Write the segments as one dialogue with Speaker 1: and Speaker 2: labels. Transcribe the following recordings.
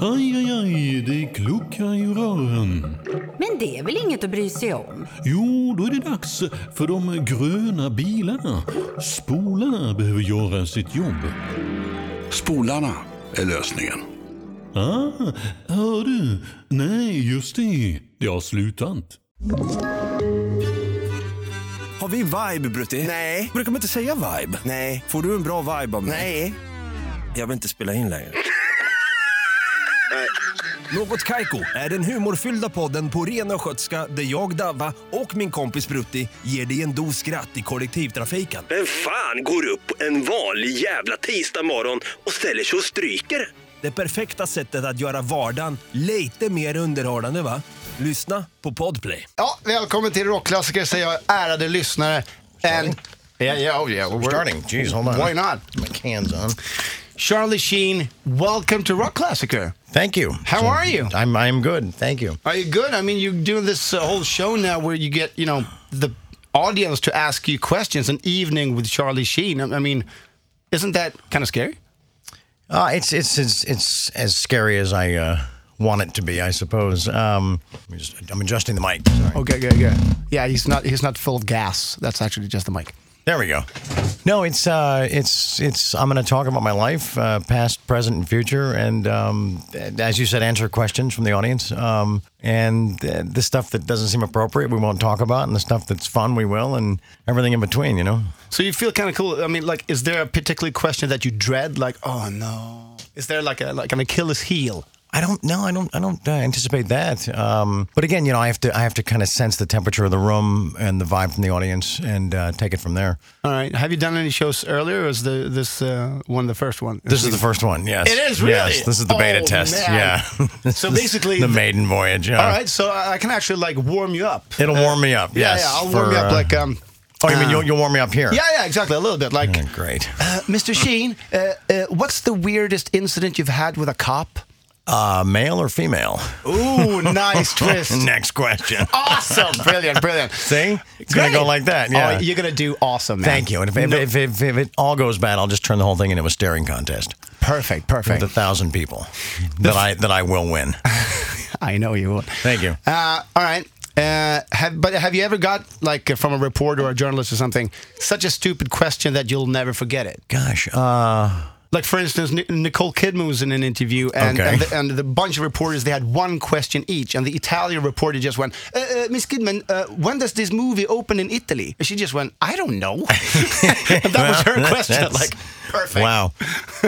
Speaker 1: Aj, aj, aj, det kluckar i rören.
Speaker 2: Men det är väl inget att bry sig om?
Speaker 1: Jo, då är det dags för de gröna bilarna. Spolarna behöver göra sitt jobb.
Speaker 3: Spolarna är lösningen.
Speaker 1: Ah, hör du? Nej, just det. Det har slutat.
Speaker 4: Har vi vibe Brutti?
Speaker 5: Nej.
Speaker 4: Brukar man inte säga vibe?
Speaker 5: Nej.
Speaker 4: Får du en bra vibe av mig?
Speaker 5: Nej.
Speaker 4: Jag vill inte spela in längre. Något Kaiko är den humorfyllda podden på ren östgötska där jag, Davva och min kompis Brutti ger dig en dos skratt i kollektivtrafiken.
Speaker 6: Vem fan går upp en vanlig jävla tisdag morgon och ställer sig och stryker?
Speaker 4: Det perfekta sättet att göra vardagen lite mer underhållande va? Lyssna på Podplay.
Speaker 7: Ja, välkommen till Rockklassiker säger jag, ärade lyssnare. And, yeah, yeah, oh, yeah. we're-
Speaker 8: starting. Jeez, hold on.
Speaker 7: Why not?
Speaker 8: My cans on.
Speaker 7: Charlie Sheen, welcome to Rockklassiker.
Speaker 8: Thank you.
Speaker 7: How are you?
Speaker 8: I'm I'm good. Thank you.
Speaker 7: Are you good? I mean, you're doing this uh, whole show now where you get, you know, the audience to ask you questions, an evening with Charlie Sheen. I, I mean, isn't that kind of scary?
Speaker 8: Uh, it's it's it's it's as scary as I uh, want it to be, I suppose. Um, I'm, just, I'm adjusting the mic. Sorry.
Speaker 7: Okay, good, good. Yeah, he's not he's not full of gas. That's actually just the mic.
Speaker 8: There we go. No, it's uh, it's it's. I'm going to talk about my life, uh, past, present, and future, and um, as you said, answer questions from the audience. Um, and uh, the stuff that doesn't seem appropriate, we won't talk about, and the stuff that's fun, we will, and everything in between. You know.
Speaker 7: So you feel kind of cool. I mean, like, is there a particular question that you dread? Like, oh no, is there like a like an Achilles heel?
Speaker 8: I don't know. I don't. I don't uh, anticipate that. Um, but again, you know, I have to. I have to kind of sense the temperature of the room and the vibe from the audience, and uh, take it from there.
Speaker 7: All right. Have you done any shows earlier? Or is the this uh, one the first one?
Speaker 8: This is the first one. Yes,
Speaker 7: It is, really?
Speaker 8: Yes, this is the beta
Speaker 7: Oh,
Speaker 8: test.
Speaker 7: man.
Speaker 8: Yeah. This
Speaker 7: So
Speaker 8: is
Speaker 7: basically
Speaker 8: the
Speaker 7: the-
Speaker 8: maiden voyage. Yeah.
Speaker 7: All right. So I I can actually like warm you up.
Speaker 8: It'll warm me up.
Speaker 7: Yeah,
Speaker 8: Yes.
Speaker 7: yeah. I'll warm
Speaker 8: for,
Speaker 7: you up
Speaker 8: uh,
Speaker 7: like um.
Speaker 8: Oh, you mean
Speaker 7: uh,
Speaker 8: you'll, you'll warm me up here?
Speaker 7: Yeah, yeah, exactly. A little bit like,
Speaker 8: Yeah, great.
Speaker 7: uh, Mr. Sheen, uh, uh, what's the weirdest incident you've had with a cop?
Speaker 8: Uh, male or female?
Speaker 7: Ooh, nice twist.
Speaker 8: Next question.
Speaker 7: awesome, brilliant, brilliant.
Speaker 8: See, it's gonna go
Speaker 7: Great.
Speaker 8: like that. Yeah.
Speaker 7: Oh, you're gonna do awesome. Man.
Speaker 8: Thank you. And if, if,
Speaker 7: No-
Speaker 8: if, if, if it all goes bad, I'll just turn the whole thing into a staring contest
Speaker 7: perfect, perfect.
Speaker 8: with a thousand people that I that I will win.
Speaker 7: I know you would.
Speaker 8: Thank you.
Speaker 7: Uh, all right. Uh, have, but have you ever got like from a reporter or a journalist or something such a stupid question that you'll never forget it?
Speaker 8: Gosh. Uh,
Speaker 7: Like for instance, Ni- Nicole Kidman was in an interview, and
Speaker 8: Okay.
Speaker 7: and, the, and the bunch of reporters they had one question each, and the Italian reporter just went, uh, uh, "Miss Kidman, uh, when does this movie open in Italy?" And she just went, "I don't know." And that was her
Speaker 8: Well,
Speaker 7: question.
Speaker 8: that's-
Speaker 7: Like perfect.
Speaker 8: Wow.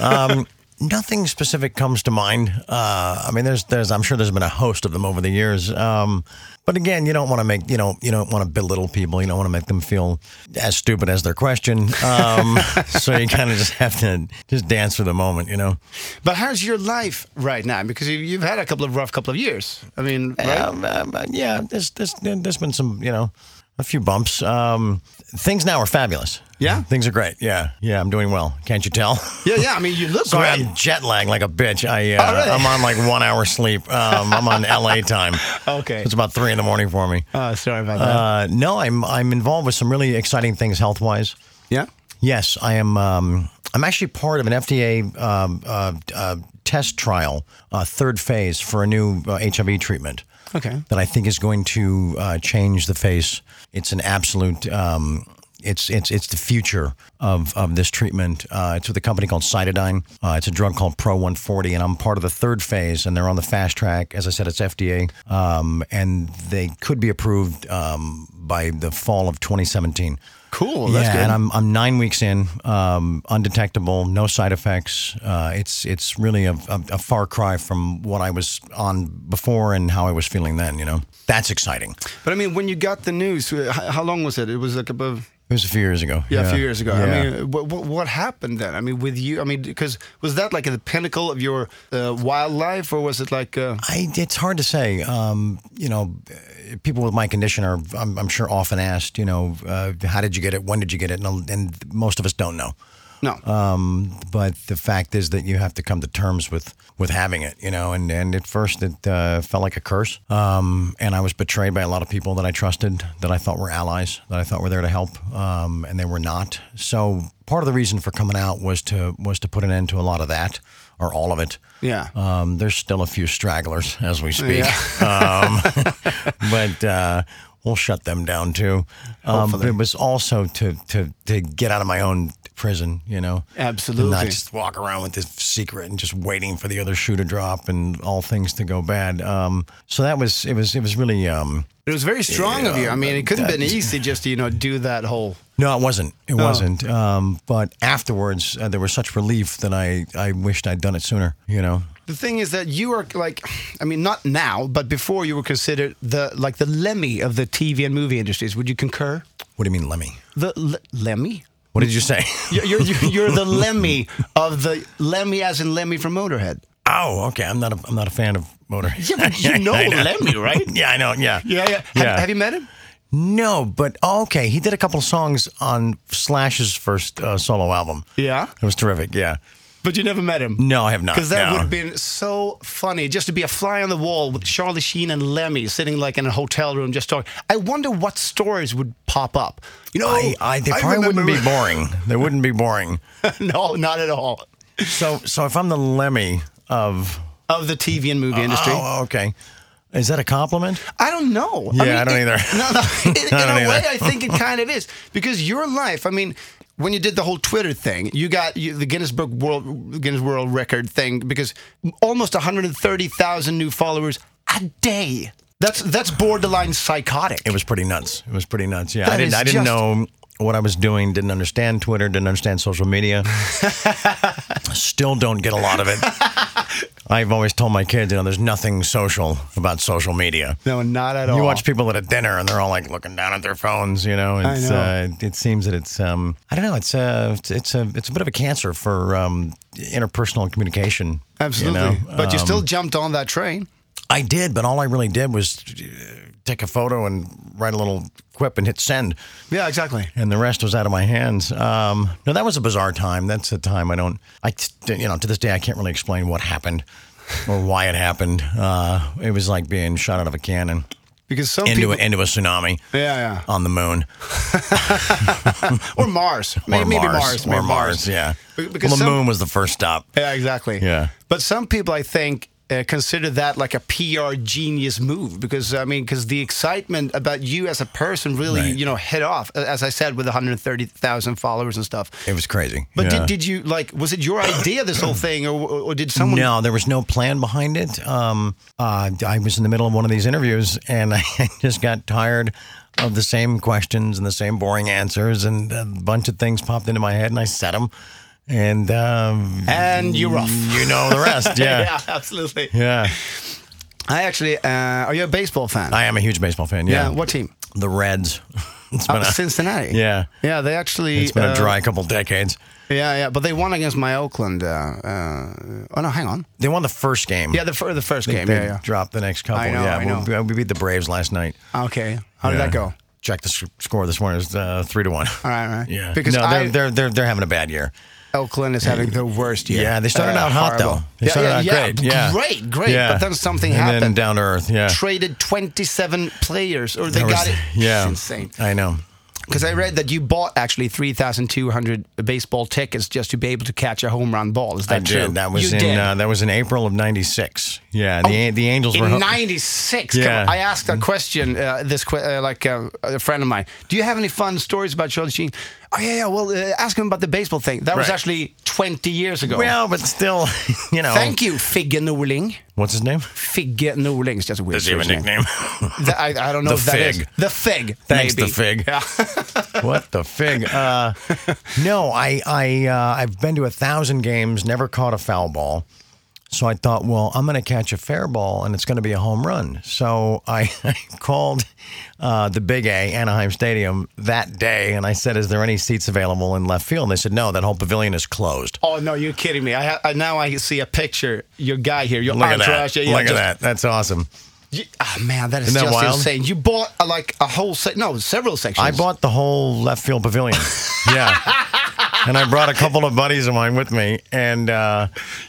Speaker 8: Um, nothing specific comes to mind. Uh, I mean, there's, there's, I'm sure there's been a host of them over the years. Um, but again, you don't want to make, you know, you don't want to belittle people. You don't want to make them feel as stupid as their question. Um, so you kind of just have to just dance for the moment, you know.
Speaker 7: But how's your life right now? Because you- you've had a couple of rough couple of years. I mean, right?
Speaker 8: Um, um, uh, yeah, there's, there's, there's been some, you know, a few bumps. Um, things now are fabulous.
Speaker 7: Yeah?
Speaker 8: things are great. Yeah, yeah, I'm doing well. Can't you tell?
Speaker 7: yeah, yeah. I mean, you look
Speaker 8: Sorry,
Speaker 7: great.
Speaker 8: I'm jet lagged like a bitch. I, uh,
Speaker 7: Oh, really?
Speaker 8: I'm on like one hour sleep. Um, I'm on LA time.
Speaker 7: Okay.
Speaker 8: It's about three in the morning for me.
Speaker 7: Oh, sorry about that.
Speaker 8: Uh, no, I'm I'm involved with some really exciting things health wise.
Speaker 7: yeah.
Speaker 8: Yes, I am. Um, I'm actually part of an FDA um, uh, uh, test trial, uh, third phase for a new uh, HIV treatment.
Speaker 7: Okay.
Speaker 8: That I think is going to uh, change the face. It's an absolute. Um, it's it's it's the future of of this treatment. Uh, it's with a company called Cytodine. Uh, it's a drug called Pro 140, and I'm part of the third phase, and they're on the fast track. As I said, it's FDA, um, and they could be approved um, by the fall of 2017
Speaker 7: Cool.
Speaker 8: yeah, and I'm I'm nine weeks in, um, undetectable, no side effects. Uh, it's it's really a, a, a far cry from what I was on before and how I was feeling then. You know, that's exciting.
Speaker 7: but I mean, when you got the news, uh, h- how long was it? It was like above,
Speaker 8: It was a few years ago.
Speaker 7: yeah, a few years ago.
Speaker 8: Yeah.
Speaker 7: I mean, what, what, what happened then? I mean, with you, I mean, because was that like the pinnacle of your uh, wildlife, or was it like? Uh,
Speaker 8: I, it's hard to say. Um, you know, uh, people with my condition are, I'm, I'm sure, often asked, you know, uh, how did you get it? When did you get it? And, and most of us don't know.
Speaker 7: no.
Speaker 8: Um, but the fact is that you have to come to terms with with having it, you know. And and at first it uh, felt like a curse, um, and I was betrayed by a lot of people that I trusted, that I thought were allies, that I thought were there to help, um, and they were not. So part of the reason for coming out was to was to put an end to a lot of that. or all of it.
Speaker 7: Yeah.
Speaker 8: Um, there's still a few stragglers as we speak, um, but uh, we'll shut them down too. Um, but it was also to to to get out of my own prison, you know.
Speaker 7: Absolutely.
Speaker 8: And not just walk around with this secret and just waiting for the other shoe to drop and all things to go bad. Um, so that was it was it was really um,
Speaker 7: It was very strong of you. I mean, it couldn't have been easy just to, you know, do that whole.
Speaker 8: No, it wasn't. It wasn't. Um, but afterwards, uh, there was such relief that I, I wished I'd done it sooner. You know,
Speaker 7: The thing is that you are like, I mean, not now, but before you were considered the like the Lemmy of the TV and movie industries. Would you concur?
Speaker 8: what do you mean, Lemmy?
Speaker 7: The le- Lemmy?
Speaker 8: What did you say?
Speaker 7: You're, you're, you're you're the Lemmy of the Lemmy, as in Lemmy from Motorhead.
Speaker 8: oh, okay. I'm not a I'm not a fan of motor.
Speaker 7: Yeah, but you know
Speaker 8: I
Speaker 7: Lemmy, right?
Speaker 8: yeah, I know. Yeah,
Speaker 7: Have, have you met him?
Speaker 8: No, but oh, okay. He did a couple of songs on Slash's first uh, solo album.
Speaker 7: Yeah.
Speaker 8: it was terrific. Yeah.
Speaker 7: But you never met him.
Speaker 8: No, I have not.
Speaker 7: Because that
Speaker 8: no.
Speaker 7: would have been so funny just to be a fly on the wall with Charlie Sheen and Lemmy sitting like in a hotel room just talking. I wonder what stories would pop up. You know,
Speaker 8: I, I, they probably wouldn't be
Speaker 7: remember-
Speaker 8: boring. They wouldn't be boring.
Speaker 7: no, not at all.
Speaker 8: So, so if I'm the Lemmy of
Speaker 7: Of the TV and movie industry.
Speaker 8: Oh, okay. Is that a compliment?
Speaker 7: I don't know.
Speaker 8: Yeah, I don't
Speaker 7: it-
Speaker 8: either.
Speaker 7: No, no. In, in
Speaker 8: I don't
Speaker 7: a way,
Speaker 8: either.
Speaker 7: I think it kind of is because your life. I mean, when you did the whole Twitter thing, you got you, the Guinness Book World Guinness World Record thing because almost 130,000 new followers a day. That's that's borderline psychotic.
Speaker 8: It was pretty nuts. It was pretty nuts. Yeah,
Speaker 7: That
Speaker 8: I didn't.
Speaker 7: is
Speaker 8: I didn't
Speaker 7: just-
Speaker 8: know what I was doing. Didn't understand Twitter. Didn't understand social media. Still don't get a lot of it. I've always told my kids, you know, there's nothing social about social media.
Speaker 7: no, not at all.
Speaker 8: You watch people at a dinner and they're all like looking down at their phones, you know.
Speaker 7: I
Speaker 8: It's,
Speaker 7: know.
Speaker 8: Uh, it seems that it's um, I don't know. It's a it's, it's a it's a bit of a cancer for um, interpersonal communication. you
Speaker 7: absolutely,
Speaker 8: know?
Speaker 7: but you
Speaker 8: Um,
Speaker 7: still jumped on that train.
Speaker 8: I did, but all I really did was uh, take a photo and write a little quip and hit send,
Speaker 7: Yeah, exactly.
Speaker 8: and the rest was out of my hands. Um, no, that was a bizarre time. That's a time I don't, I, you know, to this day I can't really explain what happened or why it happened. Uh, it was like being shot out of a cannon
Speaker 7: Because some
Speaker 8: into
Speaker 7: people,
Speaker 8: a, into a tsunami.
Speaker 7: Yeah, yeah.
Speaker 8: On the moon
Speaker 7: or Mars, May-
Speaker 8: or
Speaker 7: maybe Mars,
Speaker 8: or
Speaker 7: maybe
Speaker 8: Mars, yeah.
Speaker 7: Be-
Speaker 8: well, the
Speaker 7: some-
Speaker 8: moon was the first stop.
Speaker 7: Yeah, exactly.
Speaker 8: Yeah.
Speaker 7: But some people, I think, uh, consider that like a PR genius move because I mean, because the excitement about you as a person really,
Speaker 8: Right.
Speaker 7: you know, hit off. uh, As I said, with 130,000 followers and stuff.
Speaker 8: It was crazy.
Speaker 7: But
Speaker 8: Yeah.
Speaker 7: did, did you like? Was it your idea this whole thing, or, or did someone?
Speaker 8: No, there was no plan behind it. Um, uh, I was in the middle of one of these interviews, and I just got tired of the same questions and the same boring answers, and a bunch of things popped into my head, and I said them, and um,
Speaker 7: And you're off.
Speaker 8: You know the rest, yeah,
Speaker 7: absolutely.
Speaker 8: yeah.
Speaker 7: I actually, uh, are you a baseball fan?
Speaker 8: I am a huge baseball fan.
Speaker 7: yeah.
Speaker 8: Yeah,
Speaker 7: What team?
Speaker 8: the Reds? It's been
Speaker 7: Uh,
Speaker 8: a,
Speaker 7: Cincinnati.
Speaker 8: yeah,
Speaker 7: Yeah, they actually.
Speaker 8: it's been
Speaker 7: uh,
Speaker 8: a dry couple decades.
Speaker 7: Yeah, yeah, but they won against my Oakland. Uh, uh, oh no, hang on.
Speaker 8: They won the first game.
Speaker 7: Yeah, the, fir- the first game.
Speaker 8: they
Speaker 7: yeah, yeah.
Speaker 8: dropped the next couple.
Speaker 7: I know,
Speaker 8: yeah,
Speaker 7: I know.
Speaker 8: We, we beat the Braves last night.
Speaker 7: Okay. How did
Speaker 8: Yeah.
Speaker 7: that go?
Speaker 8: Check the sc- score this morning. It's uh, three to one.
Speaker 7: All right, all right.
Speaker 8: Yeah,
Speaker 7: Because
Speaker 8: no,
Speaker 7: I,
Speaker 8: they're, they're they're they're having a bad year.
Speaker 7: Oakland is having the worst year.
Speaker 8: Yeah, they started out hot, though. They
Speaker 7: Uh, yeah,
Speaker 8: started
Speaker 7: yeah,
Speaker 8: out
Speaker 7: yeah.
Speaker 8: great, yeah.
Speaker 7: great, great.
Speaker 8: Yeah.
Speaker 7: But then something
Speaker 8: And
Speaker 7: happened.
Speaker 8: then down to earth, yeah.
Speaker 7: Traded 27 players, or they
Speaker 8: There was-
Speaker 7: got it.
Speaker 8: Yeah,
Speaker 7: It's insane.
Speaker 8: I know.
Speaker 7: Because I read that you bought actually 3,200 baseball tickets just to be able to catch a home run ball. Is that
Speaker 8: I
Speaker 7: true?
Speaker 8: did. That was
Speaker 7: you
Speaker 8: in
Speaker 7: did. Oh,
Speaker 8: uh, that was in April of '96. Yeah, and the An- the Angels were
Speaker 7: in
Speaker 8: ho-
Speaker 7: '96. come
Speaker 8: Yeah.
Speaker 7: on. I asked a question. Uh, this que- uh, like uh, a friend of mine. Do you have any fun stories about Charlie Sheen? Oh yeah, yeah. Well, uh, ask him about the baseball thing. That was
Speaker 8: Right.
Speaker 7: actually 20 years ago.
Speaker 8: Well, but still, you know.
Speaker 7: Thank you, Figge Norling.
Speaker 8: What's his name?
Speaker 7: Figge Norling is just a weird
Speaker 8: Does he have a
Speaker 7: Swedish name.
Speaker 8: nickname?
Speaker 7: Th- I, I don't know
Speaker 8: The
Speaker 7: if that is.
Speaker 8: Fig.
Speaker 7: The Fig.
Speaker 8: Thanks, the
Speaker 7: maybe.
Speaker 8: Fig.
Speaker 7: Yeah.
Speaker 8: what the fig? Uh, no, I I uh, I've been to a thousand games, never caught a foul ball. So I thought, well, I'm going to catch a fair ball and it's going to be a home run. So I, I called uh, the Big A Anaheim Stadium that day and I said, "Is there any seats available in left field?" And they said, "No, that whole pavilion is closed."
Speaker 7: Oh no, you're kidding me. I, ha- I now I see a picture. Your guy here. Your
Speaker 8: Look at
Speaker 7: entourage. Ah,
Speaker 8: that!
Speaker 7: Yeah, yeah,
Speaker 8: Look
Speaker 7: just-
Speaker 8: at that! That's awesome.
Speaker 7: You, oh man, that is
Speaker 8: Isn't that
Speaker 7: just
Speaker 8: wild?
Speaker 7: insane. You bought uh, like a whole se- no, several sections.
Speaker 8: I bought the whole left field pavilion. yeah. And I brought a couple of buddies of mine with me, and uh,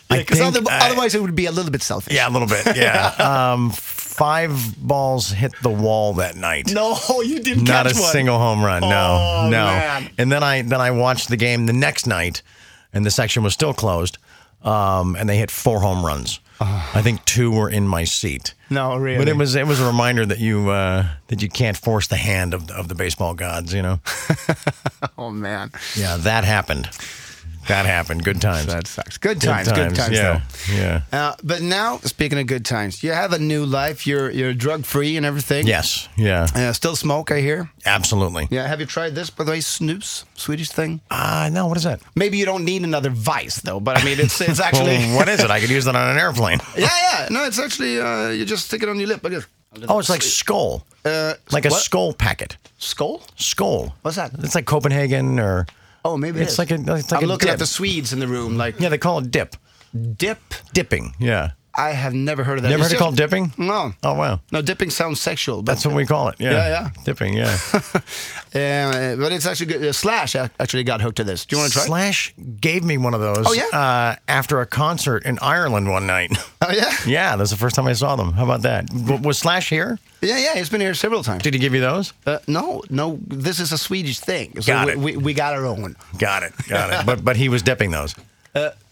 Speaker 8: I
Speaker 7: because
Speaker 8: think I-
Speaker 7: otherwise it would be a little bit selfish.
Speaker 8: Yeah, a little bit. Yeah. um, five balls hit the wall that night.
Speaker 7: No, you didn't
Speaker 8: Not a
Speaker 7: catch one.
Speaker 8: single home run. No,
Speaker 7: Oh,
Speaker 8: no.
Speaker 7: man.
Speaker 8: And then I then I watched the game the next night, and the section was still closed. um, and they hit four home runs. I think two were in my seat.
Speaker 7: Ah. No,
Speaker 8: But
Speaker 7: really?
Speaker 8: it was it was a reminder that you uh, that you can't force the hand of, of the baseball gods. You know.
Speaker 7: Oh man,
Speaker 8: Yeah, that happened. That happened. Good times.
Speaker 7: that sucks. Good times, good times.
Speaker 8: yeah, yeah.
Speaker 7: though. Uh, but now, speaking of good times, you have a new life. You're you're drug free and everything.
Speaker 8: Yes. Yeah.
Speaker 7: Uh, still smoke, I hear.
Speaker 8: Absolutely.
Speaker 7: Yeah. Have you tried this, by the way? Snooze, Swedish thing.
Speaker 8: Ah, no. What is that?
Speaker 7: Maybe you don't need another vice though. But I mean, it's it's actually.
Speaker 8: Well, what is it? I could use that on an airplane.
Speaker 7: Yeah, yeah. No, it's actually uh, you just stick it on your lip. I guess.
Speaker 8: Oh, it's like skull.
Speaker 7: Uh,
Speaker 8: like a
Speaker 7: what?
Speaker 8: skull packet.
Speaker 7: skull.
Speaker 8: Skull.
Speaker 7: What's that?
Speaker 8: It's like Copenhagen or.
Speaker 7: Oh, maybe it
Speaker 8: it's
Speaker 7: is.
Speaker 8: like a. It's like
Speaker 7: I'm
Speaker 8: a
Speaker 7: looking
Speaker 8: dip.
Speaker 7: at the Swedes in the room, like
Speaker 8: Yeah, they call it dip.
Speaker 7: dip.
Speaker 8: Dipping. Yeah.
Speaker 7: I have never heard of that.
Speaker 8: Never
Speaker 7: It's
Speaker 8: heard it
Speaker 7: just-
Speaker 8: called dipping?
Speaker 7: No.
Speaker 8: Oh wow.
Speaker 7: No, dipping sounds sexual, but
Speaker 8: That's what we call it. Yeah.
Speaker 7: Yeah, yeah.
Speaker 8: Dipping. Yeah.
Speaker 7: uh, but it's actually good. Uh, Slash ac- actually got hooked to this. Do you want to try?
Speaker 8: Slash gave me one of those.
Speaker 7: Oh, yeah?
Speaker 8: Uh, after a concert in Ireland one night.
Speaker 7: Oh yeah,
Speaker 8: yeah, that's the first time I saw them. How about that? W- was Slash here?
Speaker 7: yeah, yeah. He's been here several times.
Speaker 8: Did he give you those?
Speaker 7: Uh, no, no. This is a Swedish thing. So
Speaker 8: Got
Speaker 7: we,
Speaker 8: it.
Speaker 7: We, we got our own.
Speaker 8: Got it. Got it. But but he was dipping those.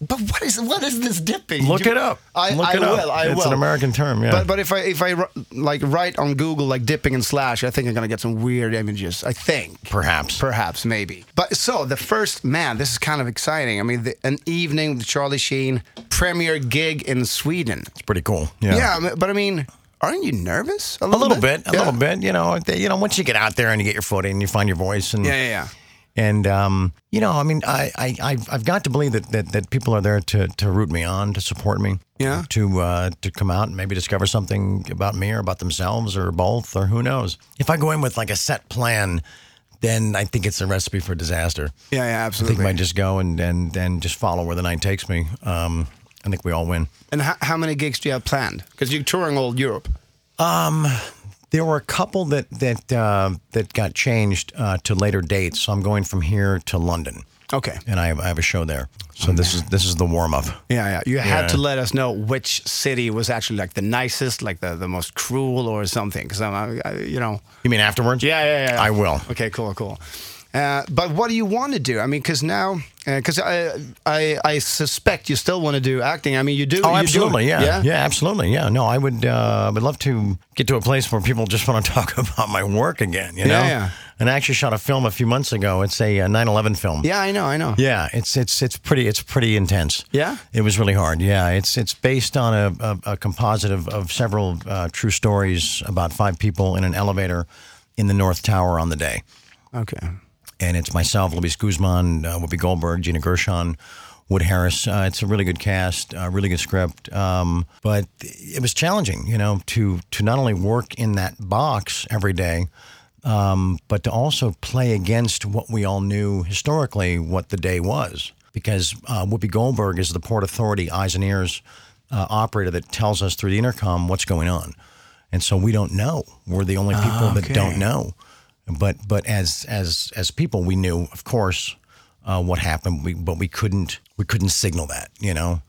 Speaker 7: But what is what is this dipping?
Speaker 8: Look
Speaker 7: You-
Speaker 8: it up.
Speaker 7: I,
Speaker 8: Look
Speaker 7: I
Speaker 8: it up.
Speaker 7: will. I
Speaker 8: It's
Speaker 7: will.
Speaker 8: an American term, yeah.
Speaker 7: But but if I if I ru- like write on Google like dipping and slash, I think I'm gonna get some weird images. I think.
Speaker 8: Perhaps.
Speaker 7: Perhaps, maybe. But so the first man, this is kind of exciting. I mean, the, an evening with Charlie Sheen, premier gig in Sweden.
Speaker 8: It's pretty cool. Yeah.
Speaker 7: Yeah, I mean- but I mean, aren't you nervous?
Speaker 8: A little bit, a
Speaker 7: Yeah.
Speaker 8: little bit. You know, they, you know. Once you get out there and you get your footing and you find your voice, and
Speaker 7: Yeah, yeah, yeah.
Speaker 8: and um, you know, I mean, I, I, I've, I've got to believe that, that, that people are there to, to root me on, to support me,
Speaker 7: Yeah.
Speaker 8: to uh, to come out and maybe discover something about me or about themselves or both or who knows. If I go in with like a set plan, then I think it's a recipe for disaster.
Speaker 7: Yeah, yeah,
Speaker 8: I think I
Speaker 7: absolutely.
Speaker 8: might just go and and and just follow where the night takes me. Um, I think we all win.
Speaker 7: and how, how many gigs do you have planned? Because you're touring all Europe.
Speaker 8: There were a couple that that uh, that got changed uh, to later dates. So I'm going from here to London,
Speaker 7: Okay.
Speaker 8: and I have, I have a show there. So this is this is the warm up.
Speaker 7: Oh, Yeah, yeah. You had
Speaker 8: Yeah.
Speaker 7: to let us know which city was actually like the nicest, like the, the most cruel or something. Because I'm, I, I- you know.
Speaker 8: You mean afterwards?
Speaker 7: Yeah, yeah, yeah.
Speaker 8: I will.
Speaker 7: Okay, cool, cool. Uh, but what do you want to do? I mean, because now, because I, I, I suspect you still want to do acting. I mean, you do.
Speaker 8: Oh,
Speaker 7: you do-
Speaker 8: absolutely. Yeah. yeah. absolutely. Yeah. No, I would uh, I would love to get to a place where people just want to talk about my work again, you know?
Speaker 7: Yeah, yeah.
Speaker 8: And I actually shot a film a few months ago. It's a uh, 9/11 film.
Speaker 7: Yeah, I know, I know.
Speaker 8: Yeah, it's it's it's pretty it's pretty intense.
Speaker 7: Yeah?
Speaker 8: it was really hard. Yeah, it's it's based on a a, a composite of, of several uh, true stories about five people in an elevator in the North Tower on the day,
Speaker 7: Okay.
Speaker 8: and it's myself, Luis Guzman, uh, Whoopi Goldberg, Gina Gershon. Wood Harris, uh, it's a really good cast, uh, really good script, um, but it was challenging, you know, to to not only work in that box every day, but to also play against what we all knew historically what the day was. Because uh, Whoopi Goldberg is the Port Authority eyes and ears uh, operator that tells us through the intercom what's going on, and so we don't know. We're the only people that don't know. But but as as as people, we knew, of course, uh, what happened. We, but we couldn't we couldn't signal that, you know.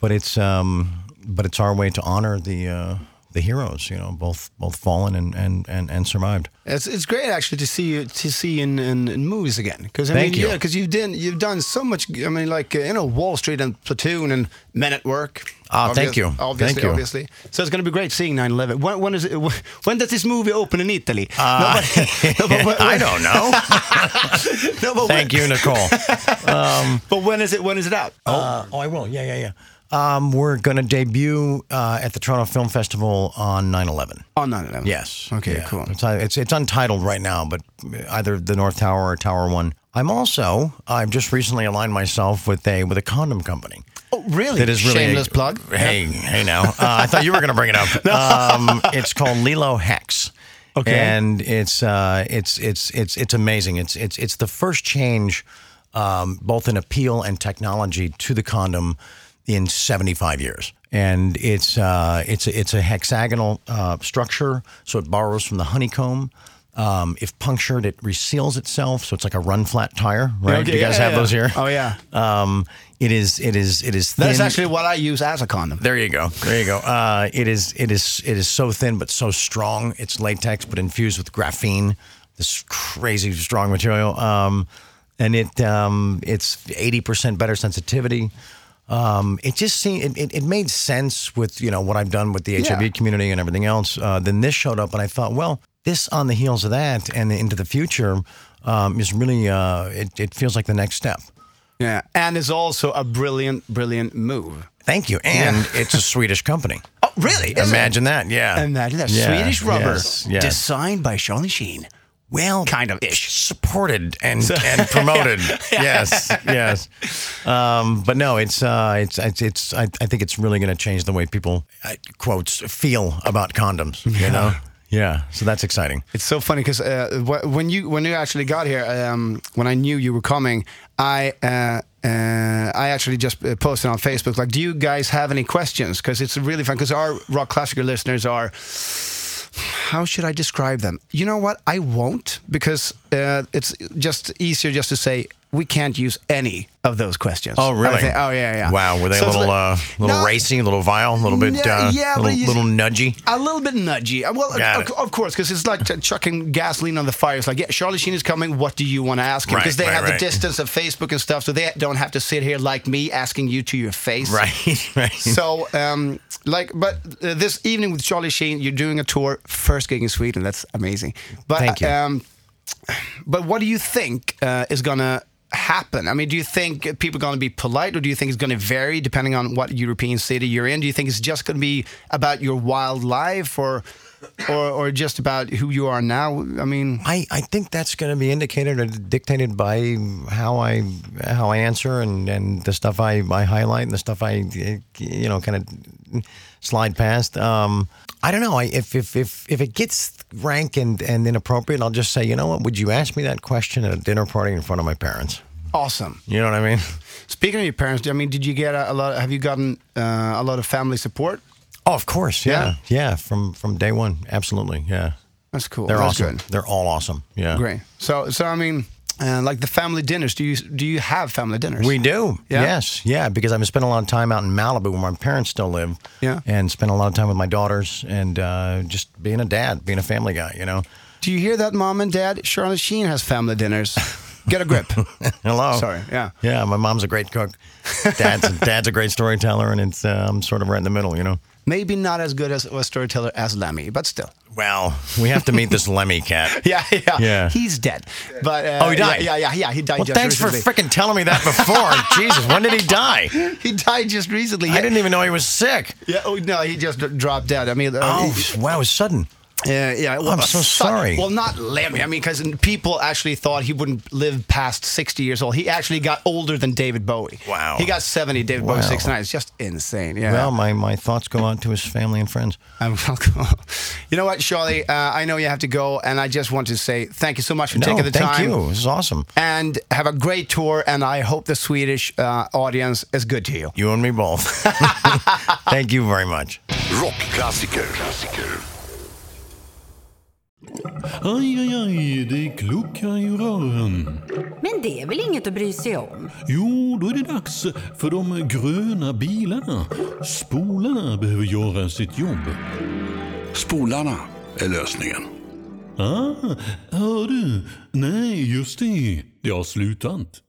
Speaker 8: But it's um but it's our way to honor the uh, the heroes, you know, both both fallen and and and, and survived.
Speaker 7: It's, it's great actually to see you to see you in, in, in movies again because I
Speaker 8: Thank
Speaker 7: mean
Speaker 8: you.
Speaker 7: yeah because you've done you've done so much I mean like uh, you know Wall Street and Platoon and Men at Work.
Speaker 8: Ah, thank you.
Speaker 7: Obviously,
Speaker 8: Thank you.
Speaker 7: obviously. So it's going to be great seeing 9/11. When, when is it? When does this movie open in Italy? no, but, no, but when-
Speaker 8: Uh, I don't know.
Speaker 7: no, but
Speaker 8: Thank
Speaker 7: when,
Speaker 8: you, Nicole.
Speaker 7: But when is it? When is it out?
Speaker 8: Uh, oh, I will. Yeah, yeah, yeah. Um, we're going to debut uh, at the Toronto Film Festival on 9 11.
Speaker 7: Oh, no, no, no.
Speaker 8: Yes.
Speaker 7: Okay,
Speaker 8: Yeah.
Speaker 7: cool.
Speaker 8: It's, uh, it's, it's untitled right now, but either the North Tower or Tower 1. I'm also, I've just recently aligned myself with a with a condom company.
Speaker 7: Oh, really?
Speaker 8: That is really
Speaker 7: shameless plug.
Speaker 8: Hey, hey, now uh, I thought you were going to bring it up. um, it's called Lilo Hex.
Speaker 7: Okay.
Speaker 8: and it's uh, it's it's it's it's amazing. It's it's it's the first change, um, both in appeal and technology to the condom in 75 years. And it's uh, it's a, it's a hexagonal uh, structure, so it borrows from the honeycomb. Um, if punctured, it reseals itself, so it's like a run flat tire, right?
Speaker 7: Okay,
Speaker 8: you guys
Speaker 7: yeah,
Speaker 8: have
Speaker 7: yeah.
Speaker 8: those here.
Speaker 7: Oh, yeah.
Speaker 8: Um, it is it is it is thin.
Speaker 7: That's actually what I use as a condom.
Speaker 8: There you go. There you go. Uh, it is. It is. It is so thin but so strong. It's latex but infused with graphene, this crazy strong material. Um, and it um, it's eighty percent better sensitivity. Um, it just seemed it, it, it made sense with you know what I've done with the HIV
Speaker 7: Yeah.
Speaker 8: community and everything else. Uh, then this showed up, and I thought, well, this on the heels of that and into the future um, is really uh, it, it feels like the next step.
Speaker 7: Yeah, and is also a brilliant, brilliant move.
Speaker 8: Thank you, and it's a Swedish company.
Speaker 7: Oh, really? Is it?
Speaker 8: Imagine that, yeah.
Speaker 7: Imagine that
Speaker 8: Yeah,
Speaker 7: Swedish rubber
Speaker 8: yes, yes.
Speaker 7: designed by Charlie Sheen.
Speaker 8: well,
Speaker 7: Kind of ish.
Speaker 8: supported and and promoted. yes, yes. Um, but no, it's uh, it's it's, it's I, I think it's really going to change the way people uh, quotes feel about condoms. You know, yeah. So that's exciting.
Speaker 7: It's so funny because uh, wh- when you when you actually got here, um, when I knew you were coming, I uh, uh, I actually just uh, posted on Facebook like, do you guys have any questions? Because it's really fun because our rock classical listeners are. How should I describe them? You know what? I won't because uh, it's just easier just to say we can't use any of those questions.
Speaker 8: Oh really?
Speaker 7: I think- oh yeah, yeah.
Speaker 8: Wow, were they
Speaker 7: So
Speaker 8: a
Speaker 7: it's
Speaker 8: little
Speaker 7: like-
Speaker 8: uh, little
Speaker 7: No,
Speaker 8: racy, a little vile, a little bit
Speaker 7: Yeah,
Speaker 8: uh,
Speaker 7: yeah, but
Speaker 8: little,
Speaker 7: you-
Speaker 8: little nudgy?
Speaker 7: a little bit nudgy. Uh, Well,
Speaker 8: Got
Speaker 7: of,
Speaker 8: it.
Speaker 7: of course, because it's like ch- chucking gasoline on the fire. It's like, yeah, Charlie Sheen is coming. What do you want to ask him?
Speaker 8: Right,
Speaker 7: Because they
Speaker 8: right,
Speaker 7: have
Speaker 8: right.
Speaker 7: the distance of Facebook and stuff, so they don't have to sit here like me asking you to your face.
Speaker 8: Right, right.
Speaker 7: So, um, like, but uh, this evening with Charlie Sheen, you're doing a tour, first gig in Sweden. That's amazing. But,
Speaker 8: Thank you.
Speaker 7: Um, but what do you think uh, is gonna happen? I mean, do you think people are gonna be polite, or do you think it's gonna vary depending on what European city you're in? Do you think it's just gonna be about your wildlife, or, or, or just about who you are now? I mean,
Speaker 8: I, I think that's going to be indicated or dictated by how I how I answer and, and the stuff I, I highlight and the stuff I eh, you know kind of slide past. Um, I don't know. I, if, if if if it gets rank and, and inappropriate, I'll just say, you know what? Would you ask me that question at a dinner party in front of my parents?
Speaker 7: awesome.
Speaker 8: You know what I mean?
Speaker 7: Speaking of your parents, I mean, did you get a, a lot? Have you gotten uh, a lot of family support?
Speaker 8: Oh, of course.
Speaker 7: Yeah.
Speaker 8: Yeah, yeah. From from day one, absolutely. Yeah,
Speaker 7: That's cool.
Speaker 8: they're
Speaker 7: That's
Speaker 8: awesome.
Speaker 7: good.
Speaker 8: They're all awesome. Yeah,
Speaker 7: Great. So, so I mean, uh, like the family dinners. Do you do you have family dinners?
Speaker 8: We do.
Speaker 7: Yeah?
Speaker 8: Yes. Yeah. Because I've spent a lot of time out in Malibu where my parents still live.
Speaker 7: Yeah.
Speaker 8: And spent a lot of time with my daughters and uh, just being a dad, being a family guy, you know?
Speaker 7: Do you hear that, mom and dad? Charlotte Sheen has family dinners. Get a grip.
Speaker 8: Hello.
Speaker 7: Sorry, yeah.
Speaker 8: Yeah. My mom's a great cook. Dad's, dad's a great storyteller. And it's, uh, I'm sort of right in the middle, you know?
Speaker 7: Maybe not as good as a storyteller as Lemmy, but still.
Speaker 8: Well, we have to meet this Lemmy cat.
Speaker 7: Yeah, yeah.
Speaker 8: Yeah.
Speaker 7: He's dead. But uh,
Speaker 8: Oh, he died.
Speaker 7: Yeah, yeah, yeah. yeah, He died.
Speaker 8: Well,
Speaker 7: just
Speaker 8: thanks for
Speaker 7: recently.
Speaker 8: freaking telling me that before. Jesus, when did he die?
Speaker 7: He died just recently.
Speaker 8: I
Speaker 7: Yeah.
Speaker 8: didn't even know he was sick.
Speaker 7: Yeah. Oh no, he just d- dropped dead. I mean, uh,
Speaker 8: Oh,
Speaker 7: he-
Speaker 8: wow, it was sudden.
Speaker 7: Yeah, yeah. Well,
Speaker 8: I'm
Speaker 7: but
Speaker 8: so
Speaker 7: fuck-
Speaker 8: sorry.
Speaker 7: Well, not Lemmy. I mean, because people actually thought he wouldn't live past 60 years old. He actually got older than David Bowie.
Speaker 8: Wow.
Speaker 7: He got 70, David Bowie
Speaker 8: Wow.
Speaker 7: 69. It's just insane. Yeah.
Speaker 8: Well, my, my thoughts go out to his family and friends.
Speaker 7: I'm welcome. You know what, Charlie? Uh, I know you have to go, and I just want to say thank you so much for
Speaker 8: No,
Speaker 7: taking the
Speaker 8: thank
Speaker 7: time.
Speaker 8: you. This is awesome.
Speaker 7: And have a great tour, and I hope the Swedish uh, audience is good to you.
Speaker 8: You and me both. Thank you very much.
Speaker 3: Rockklassiker. Klassiker.
Speaker 1: Aj, aj, aj, det kluckar i rören.
Speaker 2: Men det är väl inget att bry sig om?
Speaker 1: Jo, då är det dags för de gröna bilarna. Spolarna behöver göra sitt jobb.
Speaker 3: Spolarna är lösningen.
Speaker 1: Ah, hör du? Nej, just det. Det har slutat.